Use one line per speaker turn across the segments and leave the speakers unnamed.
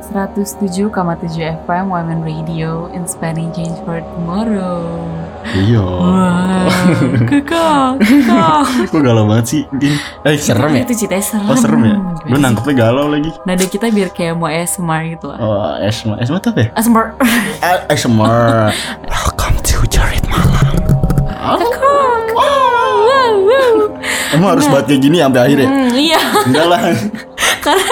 107,7 FM Women Radio Inspiring Change for Tomorrow
Iya.
Wah, kekal, kekal
Kok galau banget sih? Din? Eh serem ya?
Itu ceritanya serem
Oh serem ya?
Gimana
Lu
sih?
nangkepnya galau lagi.
Nada kita biar kayak mau ASMR gitu lah
Oh, Esma. Esma tuh apa ya?
ASMR
Eh, ASMR. Welcome to Jarit Malam. Oh.
Kekal, kekal Wow, wow.
Emang harus buat kayak gini sampai akhir ya?
Hmm, Iya,
Enggak lah.
karena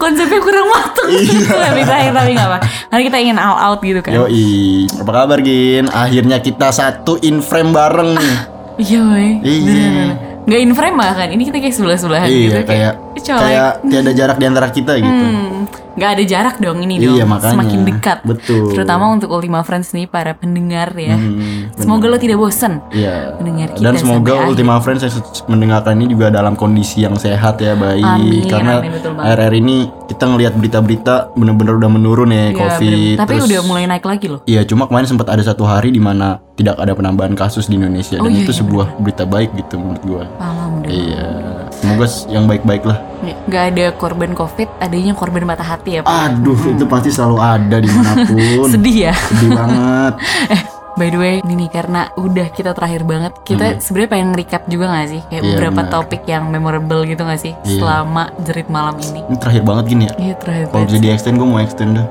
konsepnya kurang matang
Iya.
Tapi terakhir tapi gak apa Karena kita ingin all out gitu kan
Yoi, apa kabar Gin? Akhirnya kita satu in frame bareng nih.
Iya, woy.
Iya.
Bener-bener. Nggak in frame bahkan. Ini kita kayak sebelah-sebelahan gitu.
iya, kayak
eh, colek.
kayak tiada jarak di antara kita gitu.
Hmm, nggak ada jarak dong ini
Iya,
dong.
makanya.
Semakin dekat.
Betul.
Terutama untuk Ultima Friends nih para pendengar ya.
Hmm,
Semoga lo tidak bosen.
Iya.
Mendengar kita
Dan semoga
sampai
Ultima Friends yang mendengarkan ini juga dalam kondisi yang sehat ya baik
Amin,
karena
amin, betul banget.
akhir-akhir ini kita ngelihat berita-berita bener-bener udah menurun ya,
Ya,
COVID.
bener. Tapi
Terus-
udah mulai naik lagi loh.
Iya, cuma kemarin sempat ada satu hari di mana tidak ada penambahan kasus di Indonesia
Oh,
dan
iya,
itu
iya,
sebuah berita baik gitu menurut gua.
Paham dong.
Iya. Semoga s- yang baik-baik lah.
Nggak ada korban COVID, adanya korban patah hati ya. Pak.
Aduh, itu pasti selalu ada dimanapun.
Sedih ya. Eh,
Sedih banget.
By the way, ini nih, karena udah kita terakhir banget, kita sebenarnya pengen recap juga gak sih? Kayak
Hmm. Iya,
beberapa
benar.
topik yang memorable gitu gak sih?
Iya.
Selama jerit malam ini.
Ini terakhir banget gini ya.
Iya terakhir.
Kalau bisa di-extend gue mau extend dah.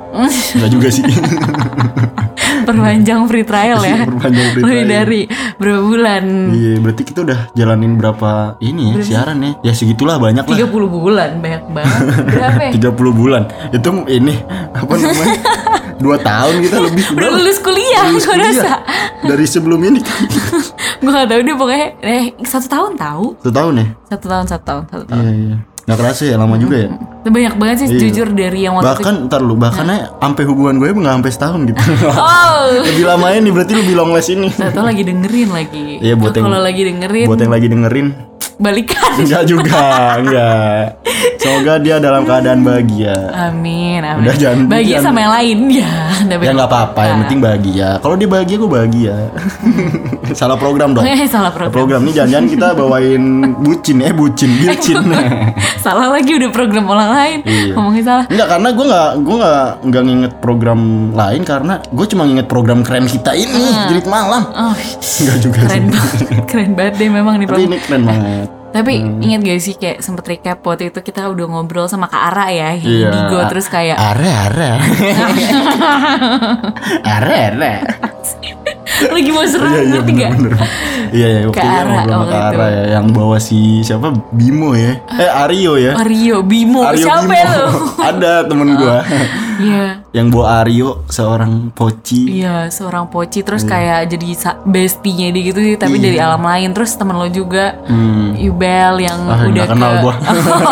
Enggak juga sih.
Perpanjang free trial ya.
Perpanjang free
Lebih
trial.
dari berapa bulan?
Iya, berarti kita udah jalanin berapa ini ya, siaran ya. Ya segitulah banyak lah.
30 bulan banyak banget. Berapa? ya?
30 bulan. Itu ini apa namanya? Dua tahun kita lebih
Udah lulus kuliah,
Lulus
gue
kuliah.
rasa.
Dari sebelum ini.
Gue gak tau deh pokoknya. Eh satu tahun tahu?
Satu tahun ya?
Satu tahun, satu tahun, satu tahun.
Iya, iya. Nggak kerasa ya, lama juga ya.
Itu banyak banget sih jujur dari yang waktu itu.
Bahkan ntar lu, bahkan aja sampai hubungan gue nggak sampai setahun gitu.
Oh.
lebih lama ini berarti lebih long last ini.
Atau lagi dengerin lagi.
Iya, buat
Atau
yang-
Kalau lagi dengerin
Buat yang lagi dengerin,
balikan.
enggak juga, enggak. Semoga dia dalam keadaan bahagia.
Amin, amin.
Udah, jangan-
Bahagia
jangan-
sama yang lain ya. tapi-
Ya nggak apa-apa, yang penting bahagia. Kalau dia bahagia, gue bahagia. Salah program dong.
Eh salah program.
Program ini jangan-jangan kita bawain bucin, eh bucin, bucin.
Iya. salah lagi udah program orang lain.
Iya.
Ngomongin salah.
Enggak karena gue nggak gue nggak nggak nginget program lain karena gue cuma nginget program keren kita ini jerit malam.
Oh,
Enggak juga sih.
keren banget. keren banget deh memang nih
Tapi
program.
ini keren banget.
Tapi
Hmm.
ingat gak sih kayak sempet recap waktu itu kita udah ngobrol sama Kak Ara ya,
Iya.
Indigo terus kayak
Are are. are are.
lagi mau serang
Iya iya
ngerti
bener
gak?
bener. Iya iya
Ke
waktu itu yang
Ara
ngobrol sama
waktu
Kak
itu.
Ara ya yang bawa si siapa Bimo ya. Eh Ario ya.
Mario Bimo
Ario
siapa
Bimo.
ya lo?
Ada temen gua
Iya.
yang bawa Ario seorang poci.
Iya, seorang poci terus kayak jadi sa- bestinya dia gitu sih, tapi
Iya.
dari alam lain. Terus temen lo juga
Hmm.
Yubel yang
Ah,
udah
nggak kenal
ke
gua.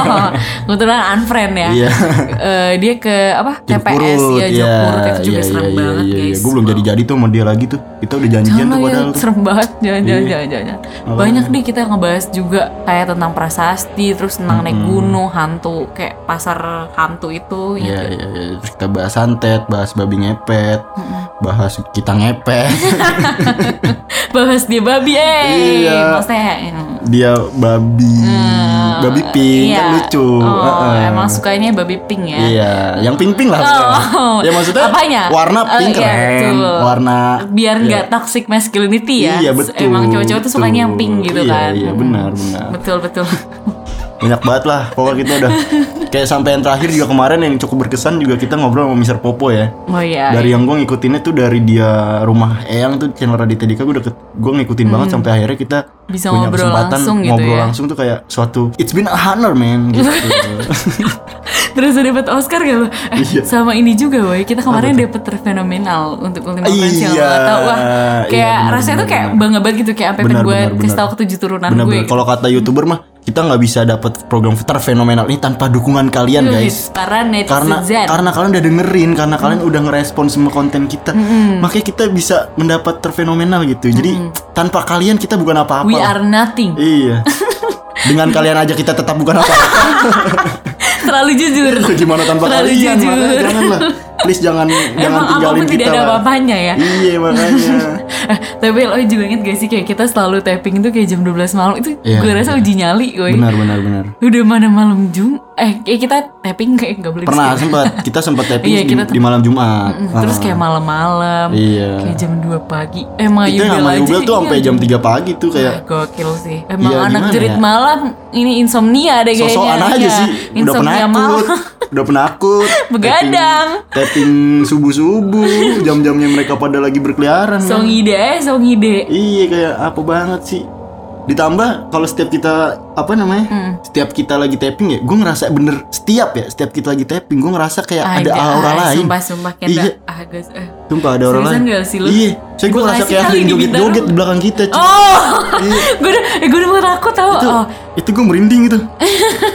kebetulan unfriend ya.
Iya.
Eh, dia ke apa? TPS
Jepurut,
ya Jepurut itu
iya,
juga serem banget guys.
Gue belum jadi-jadi tuh sama dia lagi tuh. Kita udah janjian
Jangan
tuh
lah ya,
padahal tuh. Iya,
serem banget jangan jangan jangan, jangan. Banyak deh kita ngebahas juga kayak tentang prasasti, terus tentang naik gunung, hantu, kayak pasar hantu itu.
Iya, iya, iya. Terus kita bahas santet, bahas babi ngepet, bahas kita ngepet.
Bahas dia babi, eh,
Iya.
maksudnya. mm,
dia babi, babi pink kan
Ah. iya.
lucu.
Oh,
Heeh.
emang sukanya babi pink ya.
Iya, yang pink-pink lah. maksudnya.
Oh.
Ya maksudnya
Apanya?
warna
Oh,
pink
iya,
keren,
betul.
warna
Biar nggak toxic masculinity ya.
Iya, betul.
Emang cowok-cowok tuh sukanya yang pink gitu
Iya,
kan.
Iya, benar, benar.
Betul betul.
banyak banget lah pokoknya kita udah kayak sampai yang terakhir juga kemarin yang cukup berkesan juga kita ngobrol sama Mister Popo ya
Oh iya.
dari yang gue ngikutinnya tuh dari dia rumah Eyang tuh channel Raditya Dika gue udah ke- gue ngikutin banget sampai akhirnya kita
Hmm. Bisa
punya
ngobrol
kesempatan
langsung gitu
ngobrol
ya.
langsung tuh kayak suatu it's been a honor man gitu
Terus dapat Oscar gak lo? Eh,
Iya.
Sama ini juga woy Kita kemarin dapat terfenomenal Untuk Ultima Friends yang lo
Iya,
gak tau Wah
iya,
kayak
benar,
rasanya tuh
benar,
kayak
benar.
bangga banget gitu Kayak sampai
Benar,
gue
benar,
kasih
benar.
tau ketujuh turunan gue
benar-benar
gitu.
kalau kata youtuber mah kita nggak bisa dapat program terfenomenal ini tanpa dukungan
Hmm,
kalian guys
Para
karena
netizen
karena kalian udah dengerin karena kalian
Hmm.
udah ngerespon semua konten kita makanya kita bisa mendapat terfenomenal gitu jadi tanpa kalian kita bukan apa-apa
Hmm. We are nothing
iya dengan kalian aja kita tetap bukan apa-apa
Terlalu jujur
Aduh, gimana tanpa
Terlalu
kalian
jujur.
makanya jangan lah please jangan jangan
Emang
tinggalin
apapun
kita
tidak ada
lah.
apa-apanya ya
iya makanya
Eh, tapi lo juga inget gak sih kayak kita selalu tapping tuh kayak jam 12 malam itu
Iya,
gue rasa
iya.
uji nyali woi.
benar benar benar
Udah mana malam Jum eh kayak kita tapping kayak gak boleh di
pernah
sini.
sempat kita sempat tapping
Iya,
di,
kita-
di malam Jumat
Mm, Terus
Ah.
kayak malam-malam
Iya.
kayak jam 2 pagi. Eh Mayu
itu yang
Bell
sama
aja,
Yubel tuh
iya,
sampai jam 3 pagi tuh kayak
Wah, gokil sih. Emang
Iya,
anak
gimana
jerit
ya?
malam ini insomnia deh kayaknya.
sosokan aja
Iya,
sih udah
Insomnia malam.
penakut udah penakut
Begadang.
tapping subuh subuh jam-jamnya mereka pada lagi berkeliaran
Song
kan.
ide, eh, song ide.
iya kayak apa banget sih ditambah kalau setiap kita apa namanya
Hmm.
setiap kita lagi tapping ya gue ngerasa bener setiap ya setiap kita lagi tapping gue ngerasa kayak Iya, ada, aura
ah,
lain
Sumpah sumpah kayak
Iya.
ada ah, guys, eh.
sumpah ada aura
Seriusan
lain
nggak sih lu?
iya saya gue
Gue
ngerasa
kasih
kayak ada
kali di
yang
Bintaro.
joget-joget di belakang kita cuy.
Oh, gue udah, eh, gue udah mulai takut tau.
itu,
Oh,
itu gue merinding gitu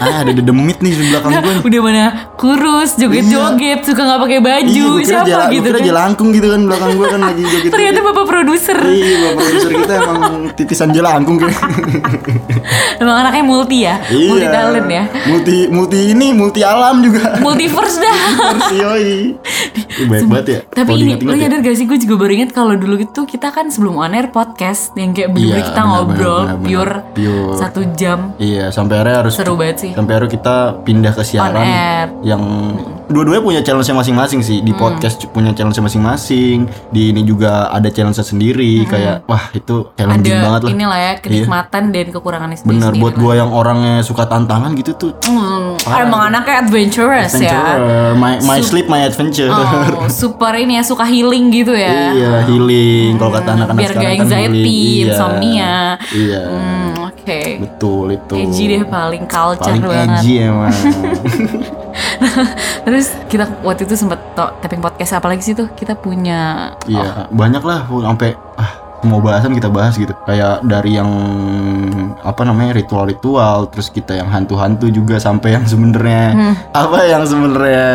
ah ada demit nih di belakang gue
udah mana kurus, joget-joget, suka nggak pakai baju,
Iya, gua kira
siapa
jala- gua
gitu
kira
kan?
jelangkung gitu kan belakang gue kan lagi joget
Ternyata bapak produser,
iya bapak produser kita emang titisan jelangkung kan
emang anaknya multi ya,
iya
multi talent ya,
multi multi ini multi alam juga
multiverse dah.
Multiverse, yoi Ih, baik banget ya
Tapi
Kalau
ini
diingat-ingat
lo
ya.
nyadar gak sih gue juga baru inget kalau dulu itu kita kan sebelum on air podcast yang kayak berdua
Iya,
kita
benar,
ngobrol
benar, benar,
pure,
pure.
satu jam
iya sampai akhirnya harus
seru banget sih.
sampai akhirnya kita pindah ke siaran
air.
yang dua-duanya punya challenge masing-masing sih di podcast punya challenge masing-masing di ini juga ada challenge sendiri kayak wah itu challenging
Ada
banget lah Iya,
inilah ya kenikmatan dan kekurangan sendiri.
bener buat gua yang orangnya suka tantangan gitu tuh
Hmm, emang anaknya adventurous, ya.
adventure Eh, my, my sleep my adventure
Oh, super ini ya suka healing gitu ya.
iya healing kalau kata anak-anak
Hmm, biar gak
sekarang kan
anxiety,
healing. Iya.
insomnia.
iya
Hmm, oke.
betul itu
Edgy deh paling culture
paling
banget.
edgy emang
Terus kita waktu itu sempet to- tapping podcast apalagi sih tuh kita punya
iya banyak lah sampai ah, semua bahasan kita bahas gitu kayak dari yang apa namanya ritual-ritual terus kita yang hantu-hantu juga sampai yang sebenarnya apa yang sebenarnya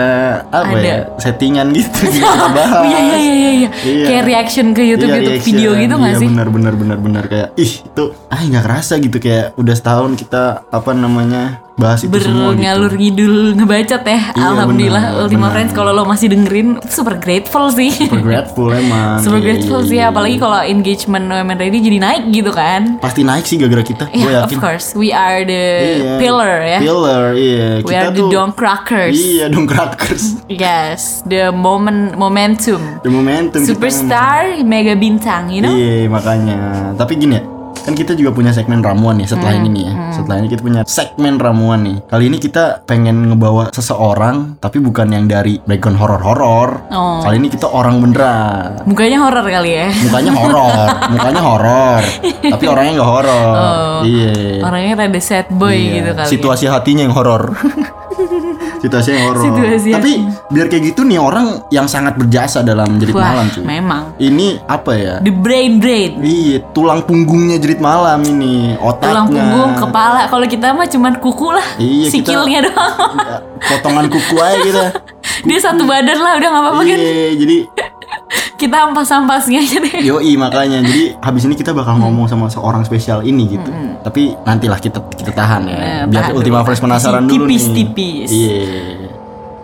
apa
Hmm. Ada.
ya settingan gitu juga kita bahas
Oh iya iya iya iya, iya.
Iya.
Kayak reaction ke YouTube
Iya,
YouTube
reaction.
video gitu nggak
Iya,
sih?
benar benar benar benar kayak ih itu ah nggak kerasa gitu kayak udah setahun kita apa namanya bahas itu semua gitu.
Berngalur ngidul ngebacot ya.
Iya,
Alhamdulillah
benar,
Ultima
benar.
Friends kalau lo masih dengerin super grateful sih.
Super grateful emang.
Super
Iya,
grateful
iya,
sih
iya.
apalagi kalau engagement Women Ready jadi naik gitu kan.
pasti naik sih gara-gara kita. gue
Ya, of
yakin.
course we are the
Iya.
pillar ya.
Pillar, iya.
We are the dongkrakers.
Iya, dongkrakers.
Yes, the moment momentum.
The momentum kita
Superstar, mega bintang, you know?
emang. Iya, makanya. Tapi gini ya, kan kita juga punya segmen ramuan nih
Hmm,
setelah ini nih ya. Setelah ini kita punya segmen ramuan nih. Kali ini kita pengen ngebawa seseorang tapi bukan yang dari background horor-horor.
Oh.
Kali ini kita orang beneran.
Mukanya horor kali ya.
mukanya horor, mukanya horor, tapi orangnya nggak horor. Iya.
Orangnya rada sad boy
Iya.
Oh. gitu kali. ya.
Situasi hatinya yang horor. Situasi yang horor.
Situasi
Tapi biar kayak gitu nih orang yang sangat berjasa dalam jerit
Wah,
malam cuy.
memang.
Ini apa ya?
The brain brain.
Iya, tulang punggungnya jerit malam ini, otaknya.
Tulang punggung, kepala. Kalau kita mah cuman kuku lah.
Iya, kita-
Sikilnya doang.
Iya, Potongan kuku aja kita.
Dia satu badan lah, udah nggak apa-apa kan.
Iya, jadi
Kita ampas-ampasnya aja deh.
Yoi makanya jadi habis ini
Hmm.
kita bakal ngomong sama seorang spesial ini gitu. Tapi nantilah kita kita tahan ya.
Nah, Hmm,
Biar
tahan dulu.
Ultima Fresh penasaran
Tipis-
dulu nih.
tipis.
Iya.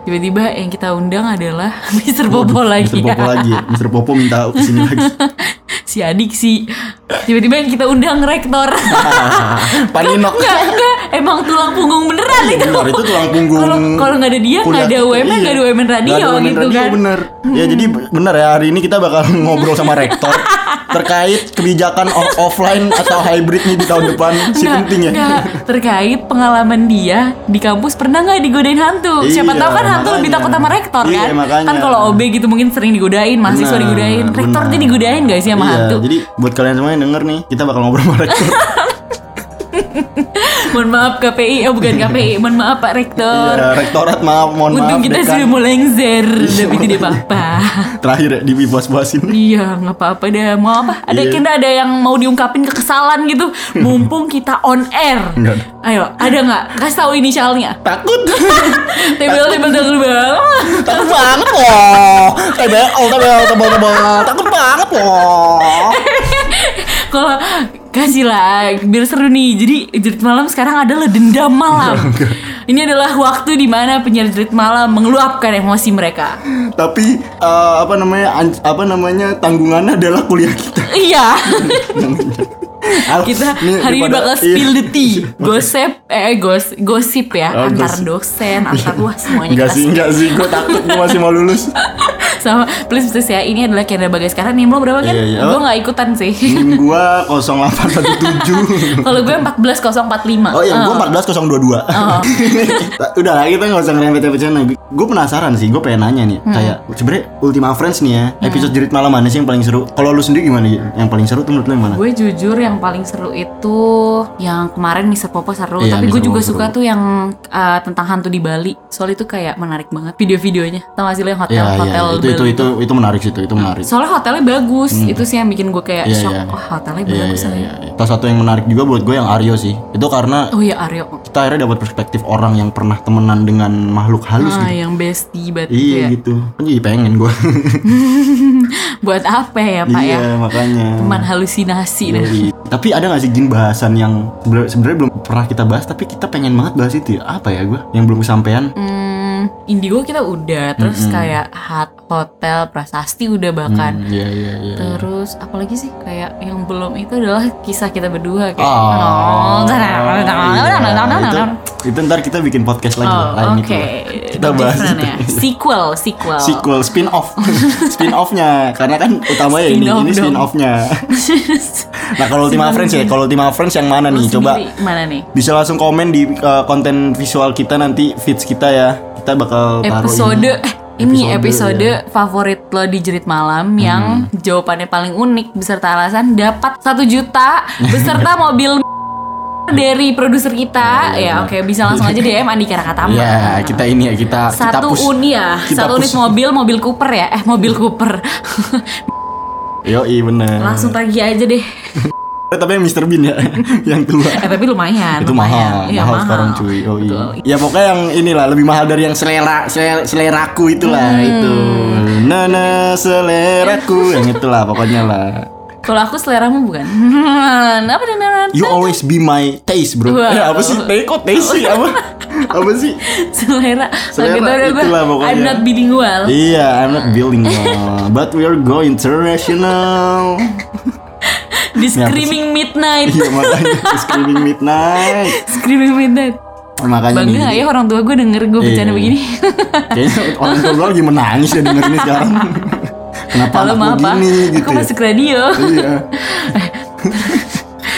Tiba-tiba yang kita undang adalah Mr. Popo lagi.
Mister Popo lagi. ya. Mister Popo minta kesini lagi.
si adik si. Tiba-tiba yang kita undang rektor.
Paninok.
Enggak, enggak. Emang tulang punggung beneran itu.
Bener, Iya, itu tulang punggung.
Kalau kalau nggak ada dia nggak
kuliah
ada
kita,
UMN,
iya.
nggak ada UMN radio
Nggak ada UMN
gitu
radio,
kan.
Bener. Ya jadi bener ya hari ini kita bakal ngobrol sama rektor terkait kebijakan off- offline atau hybridnya di tahun depan si
Nggak,
penting ya.
nggak. terkait pengalaman dia di kampus pernah nggak digodain hantu? Siapa
Iya,
tahu kan hantu
makanya.
lebih takut sama rektor
Iya,
kan?
makanya.
Kan kalau OB gitu mungkin sering digodain, mahasiswa
Benar,
digodain, rektor
benar.
dia digodain gak sih sama
iya,
hantu?
Jadi buat kalian semua yang denger nih, kita bakal ngobrol sama rektor.
Mohon maaf KPI, oh bukan KPI, mohon maaf Pak Rektor.
Iya, rektorat maaf, mohon
Untung
maaf.
kita
dekan. Iya.
sudah mau lengser, tapi tidak apa-apa.
Terakhir ya, di puas-puasin.
gitu Iya, nggak apa-apa deh. Mau apa? Ada
Iya.
kita ada yang mau diungkapin kekesalan gitu. Mumpung kita on air.
Nggak ada.
Ayo, ada nggak? Kasih tahu inisialnya.
Takut.
Tebel, tebel, tebel banget.
Takut banget loh. Tebel, tebel, tebel, tebel. Takut banget loh.
Kalau kasih lah biar seru nih. Jadi jerit malam sekarang adalah dendam malam. Ini adalah waktu di mana penyelit malam mengeluapkan emosi mereka.
Tapi eh, apa namanya an- apa namanya tanggungannya adalah kuliah kita.
Iya.
Al-
Kita
ini
hari ini
daripada-
bakal
iya.
spill the tea. Gosip eh gos, gosip ya
Oh,
antar
gosip.
dosen, antar wah semuanya
Enggak
kita
sih, enggak sih. Gue takut gue masih mau lulus.
sama please please ya ini adalah Kendra Bagaskara nih lo berapa kan?
Iya, iya.
Gue nggak ikutan sih.
Nim gua 0817.
Kalau gue 14045.
Oh iya, gue 14022.
Ah.
Udah lah, kita nggak usah ngerempet-rempetin lagi. Gue penasaran sih, gue pengen nanya nih.
Hmm.
Kayak sebenernya Ultima Friends nih ya, episode jerit malam mana sih yang paling seru? Kalau lu sendiri gimana? Gi? Yang paling seru tuh menurut lu yang mana?
Gue jujur yang paling seru itu yang kemarin Mr. Popo seru,
Iya,
tapi
Mr.
gue juga
Popo
suka tuh yang uh, tentang hantu di Bali. Soal itu kayak menarik banget video-videonya. Tau gak sih lo yang hotel
Ya, ya,
hotel
itu, itu
Bali.
itu itu menarik sih itu, itu menarik.
Soalnya hotelnya bagus, itu sih yang bikin gue kayak
Iya,
shock.
iya.
Wah hotelnya
Iya,
bagus
iya,
ya.
iya. iya. Salah satu yang menarik juga buat gue yang Aryo sih. Itu karena
Oh iya Aryo,
kita akhirnya dapat perspektif orang yang pernah temenan dengan makhluk halus
ah,
gitu.
yang bestie banget
Iya
ya.
gitu. Kan jadi pengen gue.
Buat apa ya pak ya?
iya, makanya.
Teman halusinasi dah.
Yoi. Tapi ada gak sih jin bahasan yang sebenar- sebenarnya belum pernah kita bahas tapi kita pengen banget bahas itu ya? Apa ya gua yang belum kesampaian?
Hmm, Indigo kita udah, terus kayak hat hotel prasasti udah bahkan.
Hmm, Iya iya iya.
Terus apalagi sih kayak yang belum itu adalah kisah kita berdua kayak.
Oh,
Oh,
iya. itu, itu ntar kita bikin podcast lagi lah, lain
Oh, oke.
itu. Kita bahas
Different
itu.
ya. Sequel, sequel.
Sequel spin off. spin offnya karena kan utamanya ini
Spin-off
ini
dong.
spin offnya. Nah, kalau Ultima Friends ya, kalau Ultima Friends yang mana nih? Coba
Sendiri, mana nih?
bisa langsung komen di uh, konten visual kita nanti feeds kita ya. Kita bakal taruh
Episode
ini.
eh, ini
Episode, ya. iya.
episode, favorit lo di Jerit Malam yang jawabannya paling unik beserta alasan dapat satu juta beserta mobil dari produser kita ya oke bisa langsung aja DM Andika Rakatama
Ya, Iya, kita ini ya kita kita
satu
push.
uni ya
kita
satu unit
push.
mobil mobil Cooper ya eh mobil Cooper
Yoi bener.
langsung tagih aja deh
Eh, Tapi yang Mr. Bean ya, yang tua.
eh tapi lumayan
itu
lumayan.
mahal,
Iya,
mahal, sekarang cuy. Oh iya.
Betul.
Ya pokoknya yang inilah lebih mahal dari yang selera selera seleraku itulah
Hmm.
itu. Nana seleraku yang itulah pokoknya lah.
kalau aku seleramu bukan apa namanya
You always be my taste, bro.
Wow.
Eh, apa sih? Taste kok taste sih? Apa? apa sih?
selera
Selera,
Gitu udah gua,
itulah pokoknya.
I'm not bilingual
Iya, I'm not building wall, but we're go international.
di screaming midnight
Iya makanya screaming midnight.
screaming midnight
Makanya nih,
bangga ya orang tua gue denger gue bercanda
Iya.
begini
Kayaknya orang tua gue lagi menangis ya denger ini sekarang. Kenapa
halo
anak
maaf
gue
pak
gini gitu?
aku
ya?
masuk radio
Iya.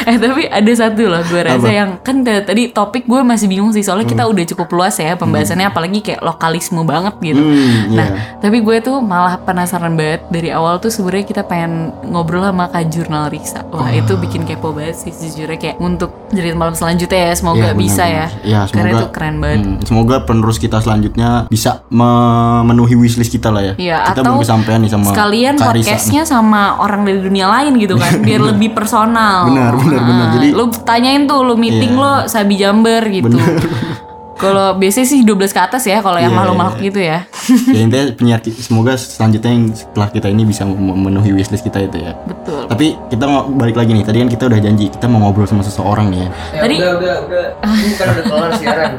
Eh tapi ada satu loh gue rasa
Apa? Hmm.
yang kan t- tadi topik gue masih bingung sih soalnya kita udah cukup luas ya pembahasannya apalagi kayak lokalisme banget gitu.
Hmm,
nah
iya.
tapi gue tuh malah penasaran banget dari awal tuh sebenarnya kita pengen ngobrol sama kak jurnal Riksa. Wah itu bikin kepo banget sih sejujurnya kayak untuk jadi malam selanjutnya ya semoga
Iya, benar,
bisa ya.
benar. Iya,
Karena
semoga-
itu keren banget.
Hmm, semoga penerus kita selanjutnya bisa memenuhi wishlist kita lah ya.
Iya,
kita
atau
belum kesampaian nih sama
sekalian
Kak Risa nih. Iya.
podcastnya sama orang dari dunia lain gitu kan biar lebih personal
Benar, benar, benar.
Nah,
Jadi-
lu tanyain tuh lu meeting
Iya.
lo Sabi Jamber gitu kalau biasanya sih 12 ke atas ya kalau yang
Iya,
makhluk-makhluk gitu ya
ya intinya penyiar ki- semoga selanjutnya yang setelah kita ini bisa memenuhi wishlist kita itu ya.
betul
Tapi kita mau balik lagi nih. Tadi kan kita udah janji kita mau ngobrol sama seseorang nih ya.
Ya,
Tadi-
udah udah udah Ini kan udah kelar siaran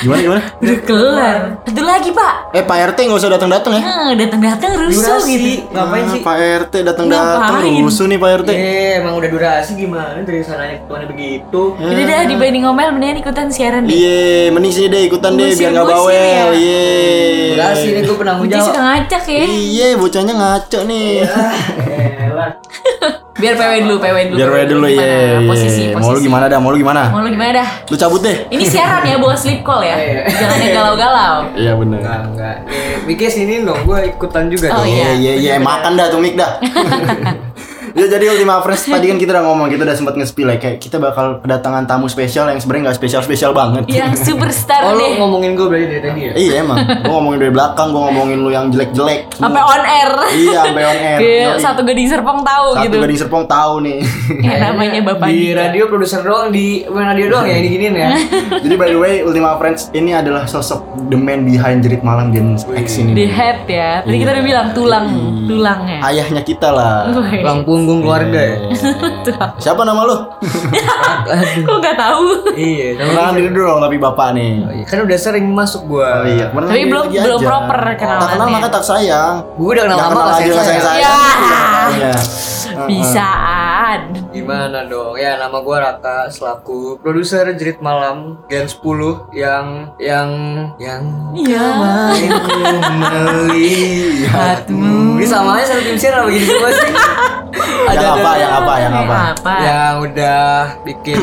Gimana gimana?
udah kelar satu lagi pak
Eh Pak RT nggak usah datang datang ya.
Eh, datang-datang rusuh
durasi
gitu
ngapain
Ah,
sih
Pak RT datang datang
Ngapain? Iya.
rusuh nih Pak RT.
eh emang udah durasi gimana dari sananya ketuanya begitu
Udah dah
Ah.
dibanding ngomel mendingan ikutan siaran
Iya,
deh
Iye, mending sini deh ikutan deh
Ngusir
biar nggak
gua sini
bawel. Iya.
ya.
Iye.
durasi ini gue penanggung
Uci suka
jawab
ngacak ya
Iye, Iya, bocahnya ngaco nih.
Iya.
Elah.
biar PW dulu PW dulu
Biar gue dulu
Gimana?
ya.
posisi
Mau lu
posisi
gimana dah? Mau lu gimana?
mau lu gimana dah
Lu cabut deh.
ini siaran ya bukan sleep call
Oh,
ya
Iya.
jangan yang galau-galau
Iya bener.
enggak enggak eh Miki sini dong gue ikutan juga
Oh,
dong
iya.
Iya iya iya makan dah tuh mik dah. Ya jadi Ultima Friends tadi kan kita udah ngomong kita udah sempat nge-spill ya kayak kita bakal kedatangan tamu spesial yang sebenarnya nggak spesial-spesial banget.
yang superstar
oh
deh
lu ngomongin gue berarti dari tadi ya
Iya emang. Gua ngomongin dari belakang, gua ngomongin lu yang jelek-jelek. semua.
sampai on air
Iya, sampai on air.
Gila,
Yoi.
satu gading serpong tahu
Satu
gitu
Gading Serpong tahu nih.
ya, namanya bapak
di
Dika.
radio produser doang di bukan radio doang ya ini giniin ya
Jadi by the way, Ultima Friends ini adalah sosok the man behind jerit malam Gen X ini. Iya. Hmm.
di head ya tadi kita udah bilang tulang tulangnya
Ayahnya kita lah. Oh.
Wih.
Tulang punggung punggung keluarga ya.
Siapa nama lu?
Aduh.
Kok nggak tahu?
Iya,
Kenalan diri dulu dong tapi bapak nih.
kan udah sering masuk
Oh,
gua.
iya, kemarin
Tapi
lagi-
belum-
lagi
belum
aja.
proper kenalannya.
Tak kenal maka tak sayang.
Gua udah kenal
Nggak
lama
kenal
gak
aja nggak sayang Iya.
sayang saya.
saya.
Ya. Bisaan.
Gimana dong? Ya nama gua Raka selaku produser Jerit Malam Gen 10 yang yang yang
Iya.
Aku melihatmu. Ini sama aja sama tim siar apa gini semua sih?
Yang apa? Yang apa? Yang apa?
yang udah bikin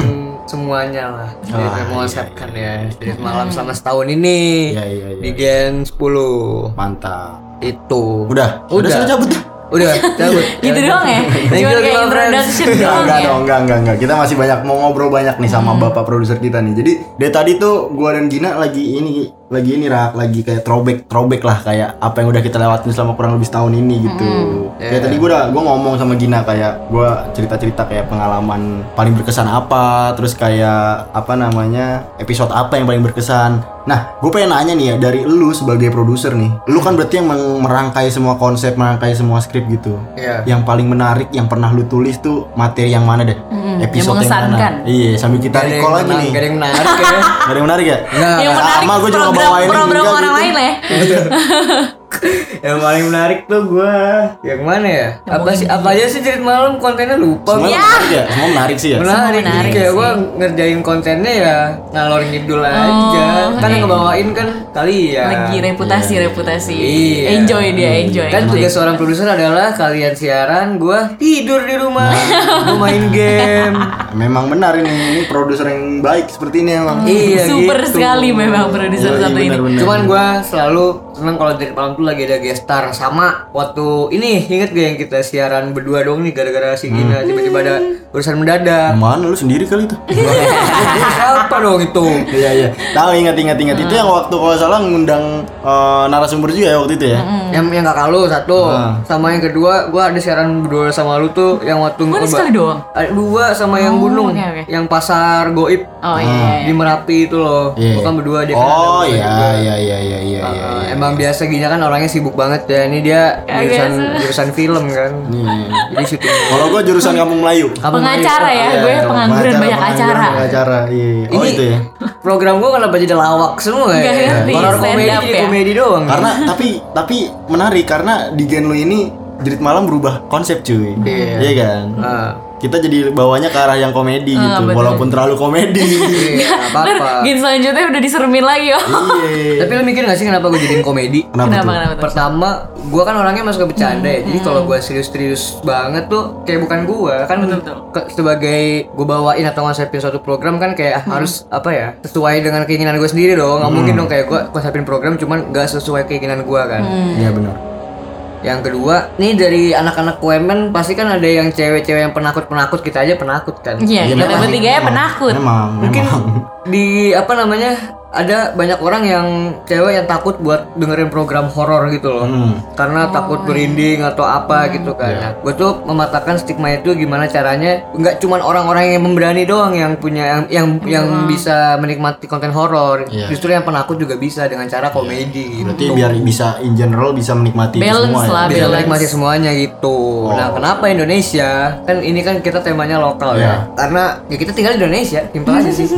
semuanya lah. Jadi
Ah,
saya mau
iya,
accept-kan ya. Jerit Malam selama setahun ini
Iya, iya, iya.
di Gen 10
Mantap.
itu.
Udah. Udah
Udah.
sudah cabut dah.
Udah cabut.
Gitu
Iya,
doang ya?
Thank
Cuma
you,
kayak
Rima Friends.
introduction
Enggak,
doang
enggak
ya?
dong, enggak, enggak, enggak. Kita masih banyak mau ngobrol banyak nih sama bapak produser kita nih. Jadi dari tadi tuh gua dan Gina lagi ini lagi ini Rak, lagi kayak throwback throwback lah kayak apa yang udah kita lewatin selama kurang lebih setahun ini gitu. Kayak tadi gua udah gua ngomong sama Gina kayak gua cerita-cerita kayak pengalaman paling berkesan apa, terus kayak apa namanya episode apa yang paling berkesan. Nah, gue pengen nanya nih ya dari lu sebagai produser nih, lu kan berarti yang meng- merangkai semua konsep, merangkai semua skrip gitu
Iya.
yang paling menarik yang pernah lu tulis tuh materi yang mana deh
Mm,
episode
yang
yang, mana
mengesankan.
iya sambil kita
Gak ada yang
recall lagi
menang-
nih
Gak ada yang menarik ya.
gak ada yang menarik ya
Nah,
Yang menarik
sama, gua juga
program,
bawain
program
juga
orang
gitu.
lain lah ya.
yang paling menarik tuh gua yang mana ya? Apa sih? Apa aja sih cerit malam kontennya lupa.
semua
Iya.
gua.
menarik ya semua menarik sih ya
menarik,
menarik
kayak gua ngerjain kontennya ya ngalor ngidul aja. Kan yang ngebawain kan kalian.
Lagi reputasi, reputasi.
Iya.
Enjoy dia, enjoy.
Kan tugas seorang produser adalah kalian siaran, gua tidur di rumah, gua main game.
memang benar ini ini produser yang baik seperti ini emang
iya
Super
gitu.
sekali memang produser
Iya, iya,
satu Hmm. ini.
benar-benar.
Cuman gua selalu seneng kalau dari malam tuh lagi ada gestar sama waktu ini inget gak yang kita siaran berdua dong nih gara-gara si Gina tiba-tiba ada urusan mendadak.
Yang mana lu sendiri kali itu
Siapa dong itu?
iya iya tahu ingat ingat ingat
Hmm.
itu yang waktu kalau salah ngundang eh, narasumber juga ya waktu itu ya
Hmm.
Yang yang kakak lu satu,
Ah.
sama yang kedua gua ada siaran berdua sama lu tuh yang waktu
Mana
ngubah-
Kan sekali doang?
Ada dua sama yang gunung,
oke, oke.
yang pasar goib
Oh
Ah.
iya.
di Merapi itu loh.
Iya.
Bukan berdua dia kan ada
oh
berdua
iya
juga.
iya iya iya iya
Uh,
iya
emang biasa Gina kan orangnya sibuk banget ya. Ini dia jurusan jurusan film kan.
Iya.
Jadi syuting
kalau gua jurusan kampung Melayu
Kamu
Pengacara ya,
Iya,
gue pengangguran banyak
pengangguran,
acara.
banyak acara iya iya. oh
Ini-
itu ya
program gua kenapa jadi lawak semua ya?
Nggak ngerti,
Horor
stand
komedi
up
jadi
ya?
komedi doang.
karena tapi tapi menarik karena di gen lu ini jerit malam berubah konsep cuy
Iya.
kan
Nah.
Ah,
kita jadi bawanya ke arah yang komedi gitu
betul.
walaupun terlalu komedi
iya, nggak apa-apa.
Gin selanjutnya udah diseremin lagi oh.
iya
Tapi lu mikir gak sih kenapa gua jadiin komedi?
kenapa,
Kenapa
tuh
kenapa? tuh?
Pertama, gua kan orangnya masuk ke bercanda ya.
Hmm.
Jadi kalau gua serius-serius banget tuh kayak bukan gua kan
betul.
ke- sebagai gua bawain atau konsepin suatu program kan kayak
Hmm.
harus apa ya? Sesuai dengan keinginan gua sendiri dong. Nggak mungkin dong kayak gua konsepin program cuman gak sesuai keinginan gua kan.
Hmm.
iya benar
Yang kedua, nih dari anak-anak women pasti kan ada yang cewek-cewek yang penakut-penakut kita aja penakut kan.
Iya,
Iya,
kita
memang.
bertiga ya penakut.
memang
Mungkin
memang
di apa namanya ada banyak orang yang cewek yang takut buat dengerin program horor gitu loh.
Hmm. Iya.
Karena takut berinding atau apa gitu kan. Nah, gue tuh mematahkan stigma itu gimana caranya nggak cuman orang-orang yang memberani doang yang punya yang yang, yang bisa menikmati konten horor.
Iya.
Justru yang penakut juga bisa dengan cara komedi gitu.
berarti biar bisa in general bisa menikmati itu
Balance
semua ya.
lah,
biar
balance.
menikmati semuanya gitu.
Oh.
Nah, kenapa Indonesia? Kan ini kan kita temanya
Iya.
lokal ya. Karena ya kita tinggal di Indonesia, simpel aja sih.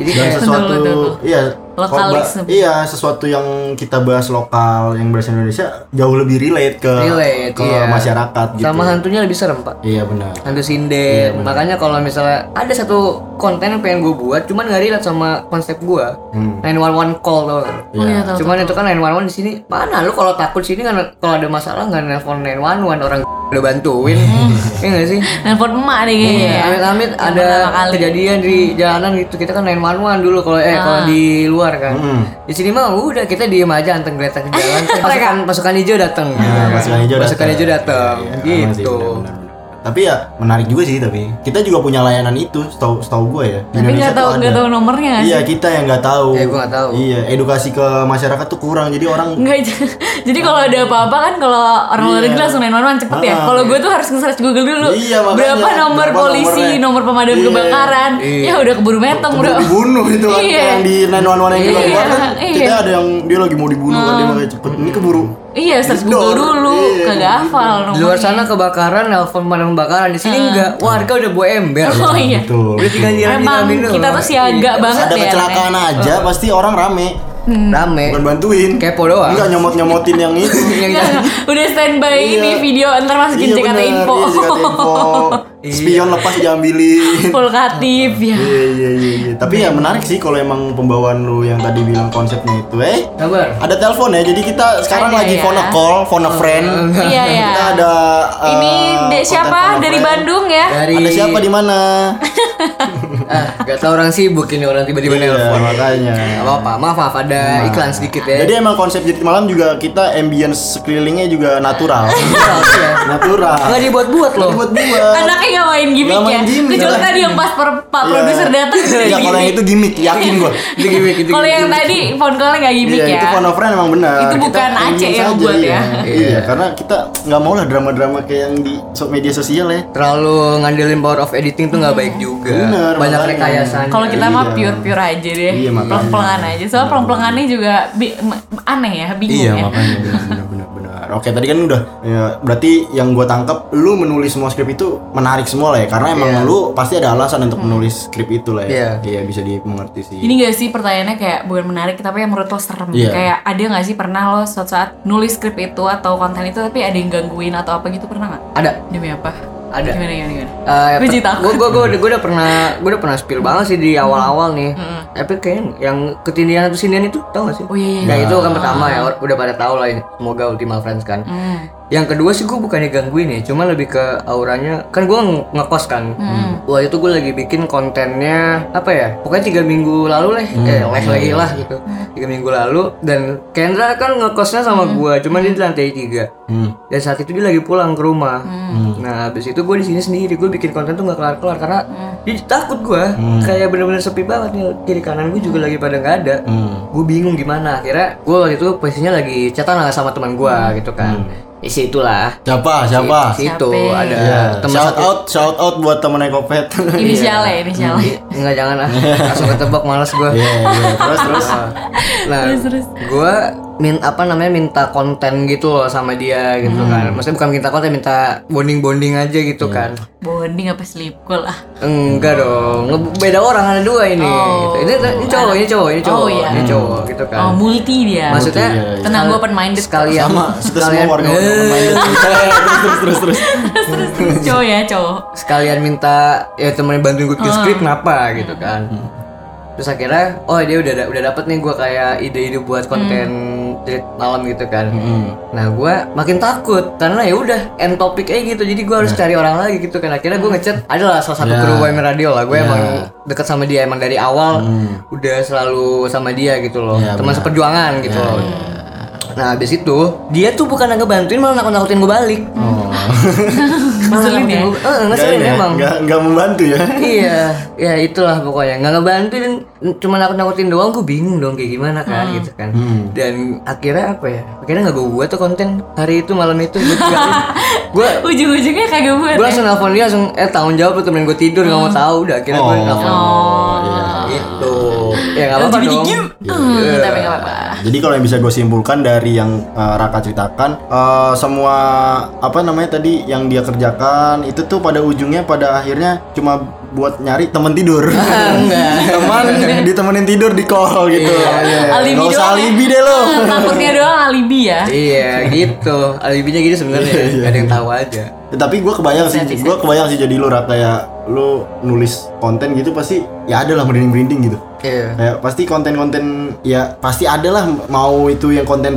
Jadi
dan
kayak
sesuatu
Betul, betul,
iya
Lokalisme.
kalau ba- iya sesuatu yang kita bahas lokal yang bahasa Indonesia jauh lebih relate ke
Relate,
ke
iya.
masyarakat gitu
sama hantunya lebih serem, Pak.
iya benar
Hantu
Iya,
sinden. Makanya kalau misalnya ada satu konten yang pengen gue buat, cuman gak relate sama konsep gue.
Hmm.
911 call tuh.
Oh iya tahu.
Cuman itu kan 911 di sini mana lu kalau takut sini kan kalau ada masalah nggak nelpon 911 orang udah bantuin. Iya nggak sih?
Nelfon emak nih
Iya,
kayaknya ya.
Amit-amit ada
pertama kali.
kejadian di jalanan gitu. Kita kan 911 dulu kalau eh
Ah.
kalau di luar kan.
Hmm.
Di sini mah udah kita diem aja anteng geletak di jalan. pasukan
ya?
pasukan hijau datang.
Nah,
iya.
pasukan hijau
Pasukan
datang.
hijau
gitu.
datang.
Iya, aman sih,
gitu.
benar, benar, benar. Tapi ya menarik juga sih tapi kita juga punya layanan itu setahu setahu gue ya. Di
Tapi
Indonesia
nggak tahu
tuh ada.
nggak tahu Ya, nomornya nggak sih?
Iya kita yang nggak tahu.
Eh, gua nggak tahu.
Iya edukasi ke masyarakat tuh kurang jadi orang.
Enggak Jadi kalau ada apa-apa kan kalau orang luar negeri langsung 911 cepet ya.
Iya. Ah.
Kalau gue tuh harus nge-search Google dulu.
Iya, makanya.
berapa nomor
Berapa
polisi,
nomornya?
nomor pemadam
Iya,
kebakaran. Ya udah keburu metong, Bro.
Udah dibunuh itu kan
Iya.
yang di 911 yang kita
Iya,
keluar kan.
iya. Hmm.
Kita ada yang dia lagi mau dibunuh kan dia makanya cepet. Ini keburu
Iya, search
Door.
Google dulu,
Iya.
kagak hafal
ya.
Di luar
nomornya.
sana kebakaran, nelpon pemadam kebakaran. Di sini enggak. Warga udah bawa ember.
Oh iya.
Betul.
Udah tinggal nyiram
Emang kita tuh siaga banget
Iya. Ada
ya.
kecelakaan aja pasti orang rame.
Hmm. Rame.
Bukan Iya. bantuin.
Kepo doang.
Enggak nyomot-nyomotin yang itu.
Yang
Iya, udah standby ini video ntar masukin
bener.
Jakarta Info.
kan?
Iya.
Iya, Jakarta Info. Spion lepas diambilin.
Pulkatif ya.
Iya iya iya. iya. Tapi ya menarik sih kalau emang pembawaan lu yang tadi bilang konsepnya itu, eh
Kabar.
ada telepon ya. Jadi kita sekarang
Ada
lagi
ya.
phone a call, phone a friend.
Iya ya.
Kita ada eh,
Ini dek
konten phone
siapa
a
dari
friend.
Bandung ya?
Dari
Ada siapa di mana?
Ah, gak tau orang sibuk ini orang tiba-tiba
Iya,
nelpon.
makanya. Nah.
Gak apa-apa, maaf maaf ada iklan sedikit ya.
Jadi emang konsep jadi malam juga kita ambience sekelilingnya juga natural.
Enggak
natural.
dibuat-buat loh.
Buat buat.
Anaknya nggak main gimmick
Nggak main
ya.
gimmick.
Kecuali tadi yang pas per- Pak produser datang udah
Ya Iya. kalau yang
gimmick.
itu gimmick, yakin gua.
Itu gimmick, itu
Kalau yang
gimmick.
tadi phone call nggak gimmick
Iya,
ya.
itu phone of friend emang benar.
Itu
Kita
bukan
ambience
Aceh yang
aja,
buat ya.
iya. Iya, karena kita nggak mau lah drama-drama kayak yang di so- media sosial ya.
Terlalu ngandelin power of editing tuh nggak baik juga.
Bener,
Iya, Banyak
makanya.
rekayasanya.
Kalau kita mah
Iya.
pure-pure aja deh.
Iya, makanya. Iya,
Peleng-pelengan aja. Soalnya peleng-pelengannya juga bi- m- aneh ya, bingung ya.
benar benar benar. Oke, tadi kan udah ya, berarti yang gua tangkap lu menulis semua skrip itu menarik semua lah ya karena emang
Iya.
lu pasti ada alasan untuk menulis skrip itu lah ya.
Iya.
Iya, bisa dimengerti sih.
Hmm. Ini gak sih pertanyaannya kayak bukan menarik tapi yang menurut lo serem
Iya.
Kayak ada gak sih pernah lo suatu saat nulis skrip itu atau konten itu tapi ada yang gangguin atau apa gitu pernah gak?
Ada.
Demi apa?
Ada.
Gimana gimana gimana?
Eh,
Gua
per-
jadi takut.
gua, gua, gua, udah- gua udah pernah gua udah pernah spill banget sih di awal-awal nih. Tapi kayaknya yang ketindihan atau sindihan itu tau gak sih?
Oh iya iya.
Nah itu kan pertama ya, or- udah pada tahu lah ini. Semoga Ultima Friends kan.
Iya.
Hmm.
Yang kedua sih gue bukannya gangguin ya, cuma lebih ke auranya. Kan gue ngekos kan. Wah itu gue lagi bikin kontennya apa ya? Pokoknya tiga minggu lalu leh,
Hmm.
eh leh
Iya,
lagi lah gitu. Tiga minggu lalu dan Kendra kan ngekosnya sama gua gue, cuman dia di lantai tiga.
Hmm.
Dan saat itu dia lagi pulang ke rumah. Nah habis itu gue di sini sendiri, gue bikin konten tuh nggak kelar kelar karena dia takut gue. Kayak bener-bener sepi banget nih kiri kanan gue juga lagi pada nggak ada
Hmm.
gue bingung gimana akhirnya gue waktu itu posisinya lagi chatan lah sama teman gue
Hmm.
gitu kan isi itulah
Siapa? Siapa?
si itu
Siapa?
ada
Ah. Iya.
teman
Shout
satu
out, shout out buat temen Ekopet.
Iya. Inisialnya, inisialnya.
Ih, nggak jangan ah langsung ketebak malas gue
Iya, iya. Terus terus.
nah gue min apa namanya minta konten gitu loh sama dia gitu
Hmm.
kan maksudnya bukan minta konten minta bonding bonding aja
Iya.
gitu kan
Bonding apa sleep call ah?
enggak dong nge- beda orang ada dua ini
Oh.
gitu. ini, ini cowok ini cowok ini cowok
Oh, iya.
ini cowok gitu kan
Oh multi dia.
maksudnya
Iya, iya.
Tenang gue open minded.
sekalian
Sama kita semua warga
Eh,
main. Terus terus terus.
cowok ya cowok.
sekalian minta ya temenin bantuin gue
Ah.
bikin skrip kenapa gitu
Hmm.
kan terus akhirnya oh dia udah da- udah dapet nih gue kayak ide-ide buat
Hmm.
konten treat malam gitu kan nah gue makin takut karena ya udah end topic aja gitu jadi gue harus cari orang lagi gitu kan akhirnya gue ngechat adalah salah satu
Nah. Hmm. Ya.
kru WM radio lah gue
Ya. Hmm.
emang deket sama dia emang dari awal udah selalu sama dia gitu loh
Ya,
teman
benar.
seperjuangan gitu loh Nah habis itu dia tuh bukan ngebantuin malah nakut-nakutin gue balik.
Ngeselin ya.
Gua- Eh,
Nggak ini Hmm.
ngeselin
ya,
emang.
nggak- nggak membantu ya.
iya ya itulah pokoknya nggak ngebantuin cuma nakut nakutin doang gue bingung dong kayak gimana kan
Hmm.
gitu kan dan akhirnya apa ya akhirnya nggak gue buat tuh konten hari itu malam itu gue gue
Ujung-ujungnya kagak buat.
gue
ya?
langsung nelfon dia langsung eh tanggung jawab lu temenin gue tidur nggak mau tahu udah akhirnya gue nelfon
Hmm. Oh, iya.
itu ya nggak apa-apa
LGBT
dong
Hmm, tapi nggak apa-apa.
Jadi kalau yang bisa gue simpulkan dari yang eh, Raka ceritakan eh, semua apa namanya tadi yang dia kerjakan itu tuh pada ujungnya pada akhirnya cuma buat nyari temen tidur. Teman ditemenin tidur di call gitu. Iya.
Alibi
Nggak usah
doang ya.
alibi deh lo.
Ah, Takutnya doang alibi ya.
iya gitu alibinya gitu sebenarnya
Iya,
nggak ada yang tahu aja
Ya, tapi gue kebayang sih, gue kebayang sih jadi lu Raka kayak lu nulis konten gitu pasti ya ada lah merinding-merinding gitu.
iya
Kayak pasti konten-konten ya pasti ada lah mau itu yang konten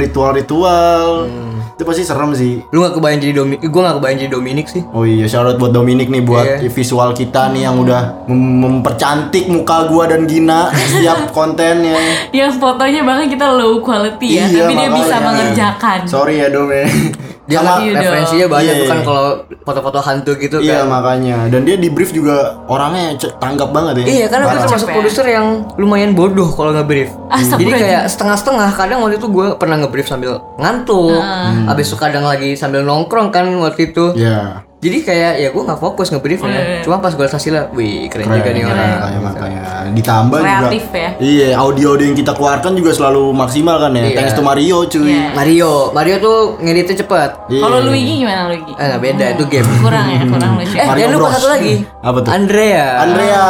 ritual-ritual.
Hmm.
Itu pasti serem sih.
lu nggak kebayang jadi Dominik gue nggak kebayang jadi Dominik sih
Oh iya, shout out buat Dominic nih buat
Iya.
visual kita nih yang udah mem- mempercantik muka gua dan Gina di setiap kontennya.
Yang fotonya bahkan kita low quality ya,
Iya,
tapi dia
makanya.
bisa mengerjakan.
Sorry ya Dom ya.
dia
Sama-
kan referensinya banyak
Iya, iya.
bukan kalau foto-foto hantu gitu kan
iya makanya. Dan dia di brief juga orangnya ce- tanggap banget ya.
Iya karena gue
Parah.
Capek.
termasuk
Ah,
produser yang lumayan bodoh kalau nggak brief. Jadi
Astagfirullahaladzim.
kayak setengah-setengah. Kadang waktu itu gue
Ah.
Hmm.
pernah nge-brief sambil ngantuk. Habis itu kadang lagi sambil nongkrong kan waktu itu.
Iya.
jadi kayak ya gue nggak fokus ngebriefnya
Hmm.
cuma pas gue liat hasilnya wih keren, juga nih orang
Iya, makanya, makanya. ditambah
Kreatif
juga
ya.
iya audio audio yang kita keluarkan juga selalu maksimal kan ya
Iya.
thanks to Mario cuy
Iya.
Mario Mario tuh ngeditnya cepet
Iya.
Kalau Luigi gimana Luigi?
ah nggak beda itu game
Kurang ya, kurang lucu.
eh
ya?
Mario
jangan lupa
Bros.
satu lagi
Apa tuh?
Andrea
Andrea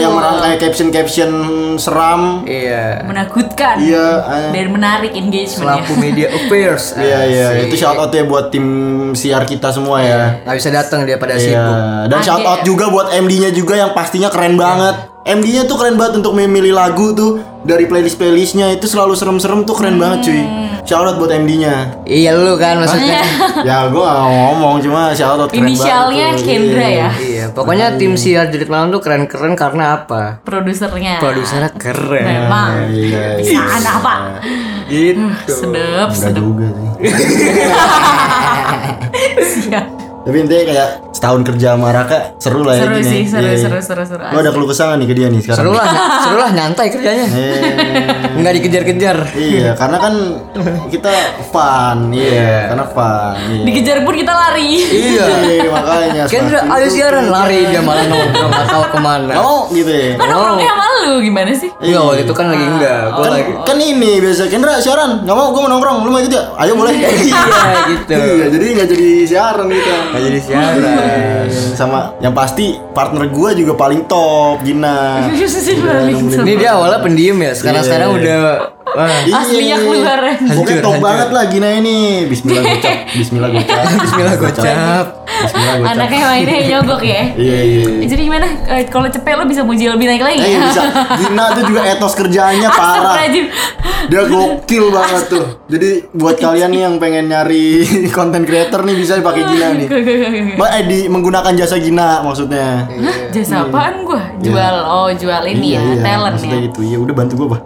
yang merangkai caption caption seram
iya
Menakutkan.
iya eh.
Dan menarik engagement
selaku media affairs
iya iya itu
Asik.
shout out ya buat tim siar kita semua ya
nggak bisa datang dia pada Iya. sibuk Iya.
Iya, dan
Ada
shout out
ya?
juga buat MD-nya juga yang pastinya keren banget. MD-nya tuh keren banget untuk memilih lagu tuh dari playlist playlistnya itu selalu serem-serem tuh keren banget cuy.
Hmm.
Shout out buat MD-nya.
iya lu kan maksudnya
ya gua gak mau ngomong cuma shout out keren
Inisialnya
banget. tuh.
Kendra
Iya.
ya,
iya pokoknya tim siar jerit malam tuh keren-keren karena apa
produsernya.
produsernya keren
Memang.
Iya, iya.
Bisaan apa?
gitu
Sedep,
Enggak
sedep.
juga sih.
Iya.
Tapi intinya kayak setahun kerja sama Raka seru lah ya.
Seru
gini.
sih, seru,
Iya, iya.
seru, seru, seru.
Lu ada keluh kesah nggak nih ke dia nih sekarang?
seru lah seru lah nyantai kerjanya
Eh,
nggak dikejar-kejar
iya, karena kan kita fun, iya, karena fun. Iya.
Dikejar pun kita lari.
Iya, makanya.
Kendra
seperti
ayo
itu.
siaran lari dia malah nongkrong nggak tahu kemana
Nggak mau gitu ya.
Kan nongkrongnya sama lu gimana sih?
Iya waktu itu kan lagi enggak, gue
Kan,
lagi
kan ini biasa Kendra siaran, nggak mau gue mau nongkrong, lu mau ikut ya? Ayo boleh.
iya gitu.
iya, jadi nggak jadi siaran gitu. Nggak jadi siaran. Sama yang pasti partner gue juga paling top, Gina.
Ini dia awalnya pendiam ya, sekarang sekarang
Iya.
udah wah,
Iya.
Aslinya keluar.
Pokoknya
Hancur,
top
hancur.
banget lah Gina ini. Bismillah gocap, Bismillah gocap,
Bismillah gocap.
Bismillah gocap.
Anaknya mainnya nyogok ya.
Iya iya. iya.
Jadi gimana? Eh, Kalau cepet lo bisa muji lebih naik lagi.
Eh bisa. Gina tuh juga etos kerjaannya parah.
Astagfirullahaladzim.
Dia gokil banget tuh. Jadi buat kalian nih yang pengen nyari konten creator nih bisa dipakai Gina nih.
Gak, gak, gak, Iya. gak.
Ma- Eh di menggunakan jasa Gina maksudnya.
Hah,
Iya.
Jasa apaan gua? Jual, oh jual ini ya, talent
maksudnya
ya.
gitu. Ya udah bantu gua, Pak.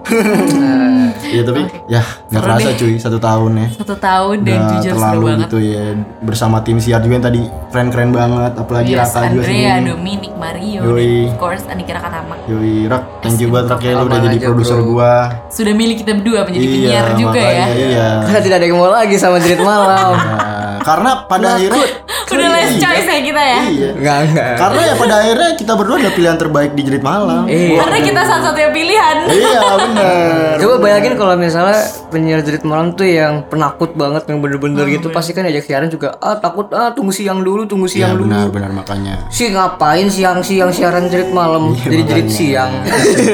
Iya tapi ya
Seru
nggak kerasa
deh.
cuy satu tahun ya.
Satu tahun dan
Udah
jujur seru
terlalu
banget.
gitu ya bersama tim siar juga yang tadi keren-keren banget apalagi
Yes,
Raka juga
Andrea,
sendiri.
Dominic, Mario,
Yoi.
dan of course Anikira Katama.
Yoi, Rak, thank you banget Rak ya lu udah
Aman
jadi
aja,
produser
bro.
gua. Iya,
Sudah milih kita berdua menjadi penyiar juga
makanya,
ya.
Iya.
Karena tidak ada yang mau lagi sama jerit malam.
Nah, karena pada akhirnya
Udah last
Iya.
choice ya kita ya.
Iya.
Enggak enggak.
Karena ya pada akhirnya kita berdua ada pilihan terbaik di jerit malam.
Iya.
Karena kita satu-satunya pilihan.
iya benar.
Coba bayangin kalau misalnya penyiar jerit malam tuh yang penakut banget yang bener-bener gitu pasti kan ajak siaran juga ah takut ah tunggu siang dulu tunggu
Iya
siang dulu.
benar benar makanya.
Si ngapain siang-siang siaran jerit malam jadi jerit siang. Iya,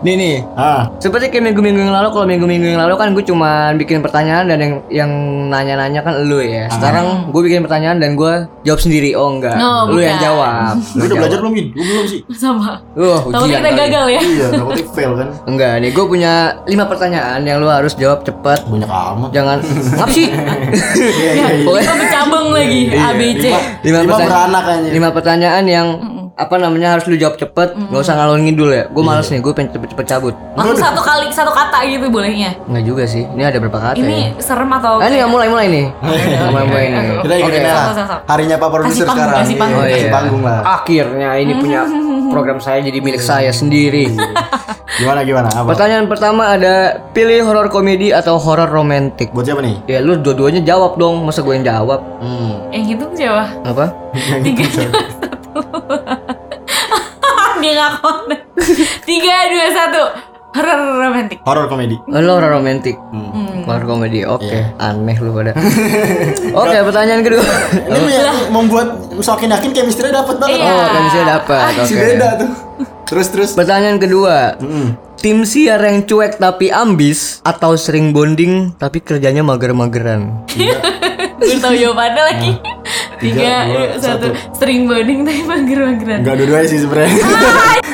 nih nih
Ah,
Seperti kayak minggu-minggu yang lalu, kalau minggu-minggu yang lalu kan gue cuman bikin pertanyaan dan yang yang nanya-nanya kan lu ya. Sekarang gue bikin pertanyaan dan gue jawab sendiri. Oh enggak,
No,
lu yang
bukan.
jawab.
Nah,
lu
iya,
udah belajar belum Gin? Gua belum sih.
Sama.
Wah,
Takutnya
ujian
kita
kali.
gagal ya.
iya, takutnya fail kan.
Enggak, nih gue punya lima pertanyaan yang lu harus jawab cepet.
Banyak amat.
Jangan ngap sih.
Ya, Iya iya. iya.
Kita bercabang lagi A B C.
Lima beranak aja.
lima pertanyaan yang apa namanya harus lu jawab cepet. Nggak usah ngalor ngidul ya. Gue males nih, gue pengen cepet-cepet cabut.
Langsung satu kali satu kata gitu bolehnya.
Enggak juga sih. Ini ada berapa kata ya?
Ini serem atau
Ah, ini yang mulai-mulai nih. Mulai-mulai nih.
Kita ikutin aja.
sok, sok, sok.
Harinya Pak Produser
Kasih panggung,
sekarang.
kasih panggung.
Iya,
Oh,
kasih
iya.
panggung lah.
Akhirnya ini punya program saya jadi milik
Hmm.
saya sendiri.
Gimana gimana? Apa?
Pertanyaan pertama ada pilih horor komedi atau horor romantik.
Buat siapa nih?
Ya lu dua-duanya jawab dong, masa gue yang jawab?
Hmm.
yang gitu Jawa?
Apa?
Tiga dua satu. Dia nggak konten. Tiga dua satu. Horor romantik.
Horor komedi.
Eh, Lu horor romantik.
Hmm.
Horor komedi. Oke,
Iya.
aneh lu pada. Oke, pertanyaan kedua.
Ini yang membuat semakin yakin chemistry dapet
Iya.
banget.
Oh, kan bisa dapat. Oke.
Si beda tuh. Terus terus.
Pertanyaan kedua.
Hmm.
Tim siar yang cuek tapi ambis atau sering bonding tapi kerjanya mager-mageran.
Gue tau jawabannya lagi. Tiga
Nah, dua, Hmm.
dua satu. String bonding tapi mager-mageran.
Enggak dua-duanya sih sebenarnya.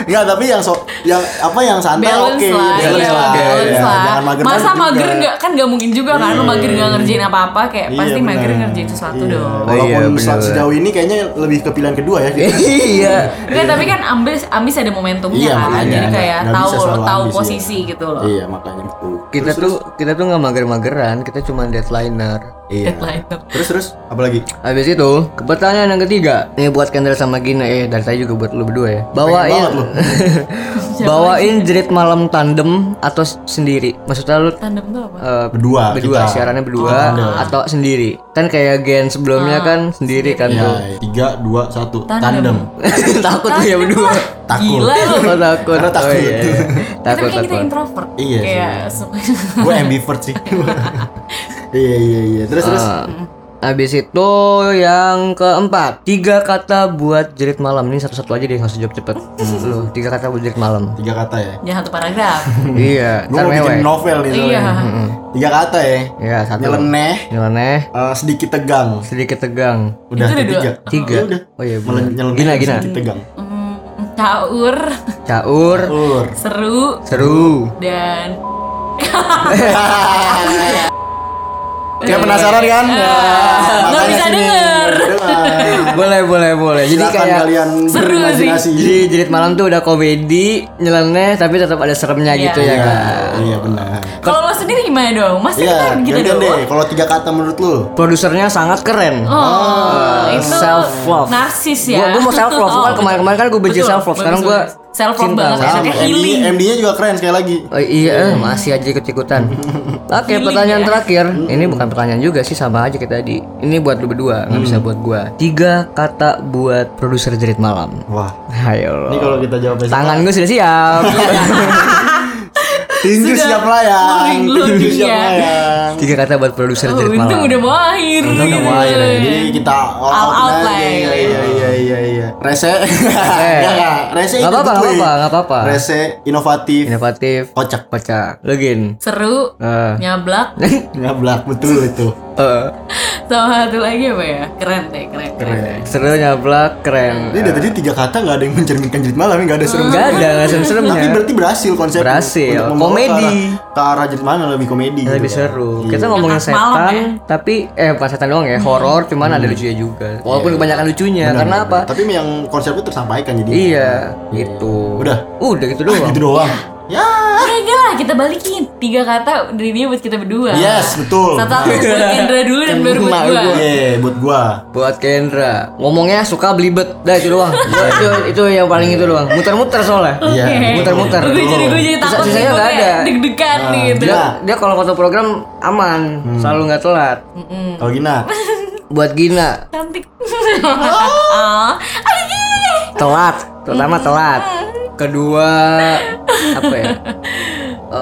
Enggak, tapi yang so yang apa yang santai oke.
balance lah,
Iya,
iya,
lah.
balance
Iya,
lah.
Jangan mager
Masa
banget
mager
juga.
nggak kan nggak mungkin juga kan lu mager nggak ngerjain apa-apa kayak
Iya,
pasti mager
benar.
ngerjain sesuatu
Iya.
dong.
Iya,
Walaupun
benar.
sejauh ini kayaknya lebih ke pilihan kedua ya. kita.
iya.
Enggak, tapi kan ambis ambis ada momentumnya
Iya,
kan.
makanya.
Jadi
Nggak-
kayak
nggak
tahu
bisa selalu
tahu
ambis,
posisi
iya.
gitu loh.
Iya, makanya betul.
kita tuh kita tuh nggak mager-mageran kita cuma deadlineer
Iya.
headliner.
Terus terus apalagi?
Habis itu, ke pertanyaan yang ketiga. Ini buat Kendra sama Gina eh dari tadi juga buat lu berdua ya.
banget
Bawain
lu.
Bawain jerit malam tandem atau s- sendiri. Maksudnya lu
Tandem tuh apa?
eh,
Berdua.
berdua
kita. Oh,
siarannya berdua atau sendiri. Kan kayak gen sebelumnya kan sendiri kan
Ya,
tuh.
tiga dua satu tandem.
takut tuh ya berdua.
Takul.
Gila lu.
Oh, takut.
Iya. Karena takut.
Oh, iya, iya.
Tapi
Takut
kan kita
takut.
introvert.
Iya sih.
Kayak semua-
Gue ambivert sih. iya iya iya. Terus terus.
Ah. Habis itu yang keempat, tiga kata buat jerit malam. Ini satu-satu aja deh, nggak usah jawab cepet.
Hmm.
Lu tiga kata buat jerit malam.
Tiga kata ya.
Jangan satu paragraf.
iya,
Gue
ntar
Hmm. mau bikin
mewek.
novel nih. soalnya.
Iya.
Tiga kata ya.
Iya, satu.
Nyeleneh,
Nyeleneh,
eh, sedikit tegang.
sedikit tegang.
Udah
Itu udah
tiga.
Tiga.
Ya Udah.
Oh iya, bener.
Melen- nyeleneh,
Gina, Gina.
sedikit tegang.
Hmm, caur,
Caur,
Ur.
seru,
seru.
dan
Dia penasaran kan? Nah,
Eh, ah. nggak
makanya
bisa
sini.
denger.
Dengar.
boleh, boleh, boleh. Jadi
Silakan
kayak
kalian
Seru sih.
berimajinasi.
jadi jerit malam tuh udah komedi, nyeleneh tapi tetap ada seremnya gitu ya
Iya,
kan.
iya benar.
Kalau lo sendiri gimana dong? Masih
Iya,
kan gitu
gantian deh.
dong?
Kalau tiga kata menurut lu,
Produsernya sangat keren.
Oh,
Ah.
itu
self love.
narsis ya.
Gua- gua mau self love. Kan kemarin-kemarin kan gua benci
Betul,
self love. Sekarang
bagus,
gua
bagus. self love
cinta
banget.
sama
Enaknya
MD
healing.
MD-nya juga keren sekali lagi.
Oh iya, eh, masih aja ikut-ikutan. Oke, pertanyaan terakhir. Ini bukan pertanyaan juga sih, sama aja kita di. Ini buat lu berdua, nggak bisa buat gua. Tiga kata buat produser jerit malam.
Wah,
Ayo.
ini
lo.
kalau kita jawab besok.
Tangan gue sudah siap.
Tinju
Sudah
siap layang.
menggelunding
Tinju siap
ya.
layang.
Tiga kata buat produser
Oh,
jerit
untung
malam.
udah mau akhir.
Udah
gitu.
mau
Iya.
akhir ya. Jadi kita all
All out
aja.
lah ya.
Iya iya iya iya iya. Rese. Iya
Eh,
Enggak enggak. Rese
nggak apa-apa,
ikut
nggak
gue.
apa-apa, nggak apa-apa.
Rese inovatif,
Inovatif,
kocak.
kocak, legin.
Seru,
Eh,
Ah.
nyablak,
Nyablak betul itu.
eh,
sama satu lagi apa ya? Keren deh, keren. keren.
seru nyablak,
Ini
keren.
dari tadi tiga kata nggak ada yang mencerminkan jerit malam, nggak ada serem.
Gak ada, nggak
Tapi
serem-seremnya.
berarti berhasil konsep
Iya. Berhasil.
untuk membawa
Komedi.
Ke arah, ke arah jerit malam lebih komedi. gitu
lebih
kan.
seru.
Iya.
Kita ngomongin
Tengah malam
setan, tapi eh bukan setan doang ya, horor cuman ada lucunya juga. Walaupun kebanyakan lucunya,
Hmm. Iya. Benar,
karena
benar,
apa?
benar. Tapi yang konsepnya tersampaikan jadi.
Iya, gitu.
Udah.
Udah gitu doang.
Gitu doang. Ya.
Udah enggak lah, kita balikin tiga kata dari dia buat kita berdua.
Yes, betul.
Satu-satu buat Kendra dulu dan baru buat
Emak
gua.
Iya, buat gua.
Buat Kendra, ngomongnya suka belibet. Dah itu doang. itu, itu yang paling itu doang. Muter-muter soalnya.
Iya.
Oke.
Muter-muter.
Gue jadi gue jadi
Sisa-
takut nih,
sisanya
gua
nggak
kayak
ada.
deg-degan nih gitu.
Iya.
Dia kalau foto program aman,
Hmm.
selalu nggak telat.
Mm-mm.
Kalau Gina,
Buat Gina,
Cantik. Oh, Ayo.
telat, terutama telat. Kedua apa ya?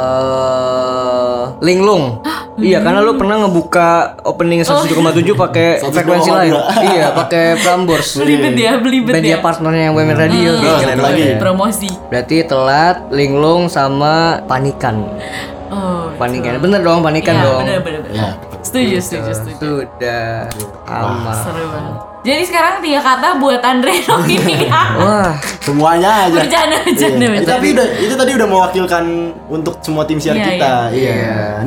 Eh, linglung. Iya, karena lu pernah ngebuka opening 107,7 pakai
1,2.
frekuensi lain. iya, pakai Prambors.
Belibet ya, belibet
Media
ya. iya,
partnernya yang WMN Radio.
Hmm.
Gitu,
Oh,
keren
satu lagi.
banget ya.
Promosi.
Berarti telat, linglung sama panikan.
Oh.
Panikan. Bener dong, panikan
Ya,
dong.
bener bener. bener.
ya.
Setuju, setuju, setuju.
Sudah aman.
Seru banget. Jadi sekarang tiga kata buat Andre dong ini ya.
Wah,
Semuanya aja.
Bercanda, bercanda,
Iya. Eh,
bercanda.
Tapi udah itu tadi udah mewakilkan untuk semua tim siar
Iya,
kita. Iya.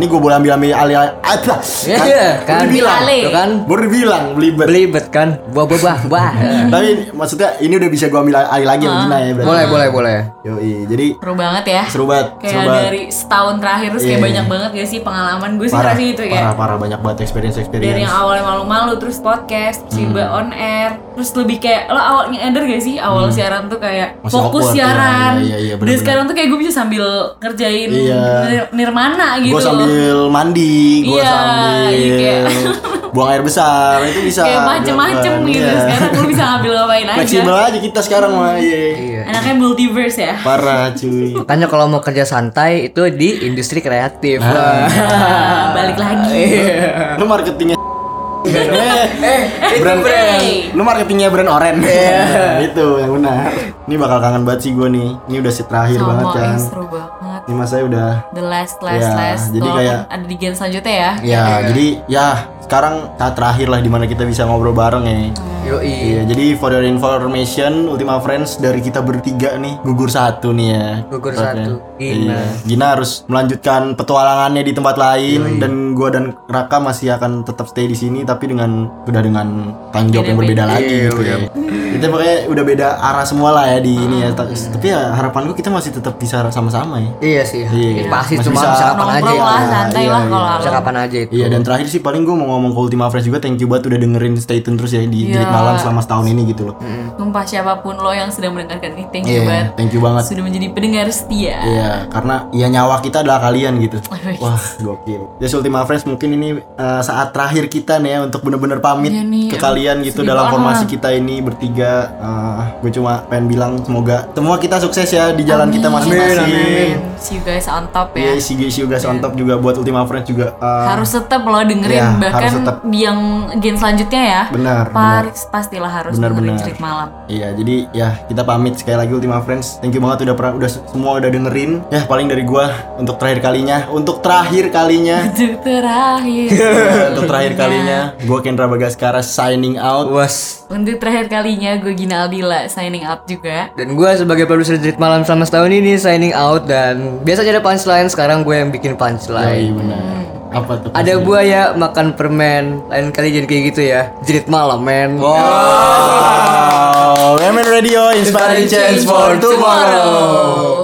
Ini gua boleh ambil ambil alih ada.
Iya, iya,
Baru
kan.
dibilang.
Ale.
itu kan
Baru dibilang belibet.
belibet kan. Buah buah buah. buah.
Tapi maksudnya ini udah bisa gua ambil alih lagi sama Gina ya berarti.
boleh, boleh, boleh.
Yoi. Jadi
Seru banget ya.
seru banget, seru
Kayak
banget.
dari setahun terakhir terus kayak
Iya.
banyak banget gak sih pengalaman gue sih
parah,
ngerasa gitu
parah,
kayak
parah banyak banget experience experience.
dari yang awalnya malu-malu terus podcast terus tiba
Hmm.
on air terus lebih kayak lo awal nyadar gak sih awal siaran tuh kayak
Masih
fokus
awkward,
siaran
iya, iya, iya,
dan
bener-bener.
sekarang tuh kayak gue bisa sambil ngerjain
Iya.
nir- nirmana gitu
Gue sambil mandi, gue
Iya, iya,
sambil
kayak-
buang air besar, itu bisa.
kayak macem-macem
dilakukan,
gitu
iya.
sekarang lo bisa ngambil ngapain aja
Fleksibel aja kita sekarang mah, iya.
Iya.
anaknya multiverse ya
Parah cuy.
Makanya kalau mau kerja santai itu di industri kreatif.
Nah.
Wah.
Ah, balik lagi
Lu marketingnya eh, brand
brand.
Lu marketingnya brand oren. Iya, itu yang benar. Ini bakal kangen banget sih gue nih. Ini udah sih terakhir
sama
banget kan.
eh, seru banget
Ini masa udah
the last last
Iya,
last
jadi
Walaupun
kayak-
ada di gen selanjutnya ya
Ya, jadi ya sekarang saat terakhir lah dimana kita bisa ngobrol bareng ya.
Yoi.
Iya, jadi for your information, Ultima Friends dari kita bertiga nih gugur satu nih ya.
Gugur
Tepatnya.
satu. Gina.
Iya. Gina harus melanjutkan petualangannya di tempat lain dan gua dan Raka masih akan tetap stay di sini tapi
Iya,
dengan udah dengan tanggung jawab yang berbeda lagi gitu ya. Kita pokoknya udah beda arah semua lah ya ya di ini
Hmm.
ya. Ta- Tapi ya harapan gue kita masih tetap bisa sama-sama ya.
Iya sih.
Iya.
Pasti
Masih
cuma
bisa.
bisa kapan aja.
Nongkrong lah,
ya?
santai
Iya,
lah
iya.
kalau
Bisa
aku.
kapan aja itu.
Iya dan terakhir sih paling gue mau ngomong ke Ultima Fresh juga thank you banget udah dengerin stay tune terus ya di
Iya.
Jerit Malam selama setahun ini gitu loh.
Sumpah siapapun lo yang sedang mendengarkan ini, thank you
Iya,
banget.
thank you banget.
Sudah menjadi pendengar setia.
Iya, karena ya nyawa kita adalah kalian gitu.
Wih.
Wah, gokil. Jadi Ultima Friends mungkin ini eh, saat terakhir kita nih ya untuk bener-bener pamit
Iya nih,
ke kalian gitu
sedih
dalam
banget.
formasi kita ini bertiga. Eh, gue cuma pengen bilang semoga semua kita sukses ya di jalan kita masing-masing.
See you guys on top
Iya,
ya.
si Gesi juga on top juga buat Ultima Friends juga. eh,
Harus tetap lo dengerin
Iya,
bahkan
harus tetap.
di yang gen selanjutnya ya.
benar, benar.
Paris pastilah harus
Benar,
dengerin
benar.
jerit malam.
Iya, jadi ya kita pamit sekali lagi Ultima Friends. Thank you banget udah pernah udah semua udah dengerin. Ya paling dari gua untuk terakhir kalinya, untuk terakhir kalinya, Eh,
Untuk terakhir.
untuk terakhir kalinya, gua Kendra Bagaskara signing out.
Was.
Untuk terakhir kalinya gue Gina Aldila signing out juga.
Dan gue sebagai produser Jerit Malam selama setahun ini signing out dan biasanya ada punchline sekarang gue yang bikin punchline.
Yoi, benar. Apa tuh?
Ada buaya makan permen. Lain kali jadi kayak gitu ya. Jerit malam, men.
Oh, Wow. Women Radio inspiring change for tomorrow.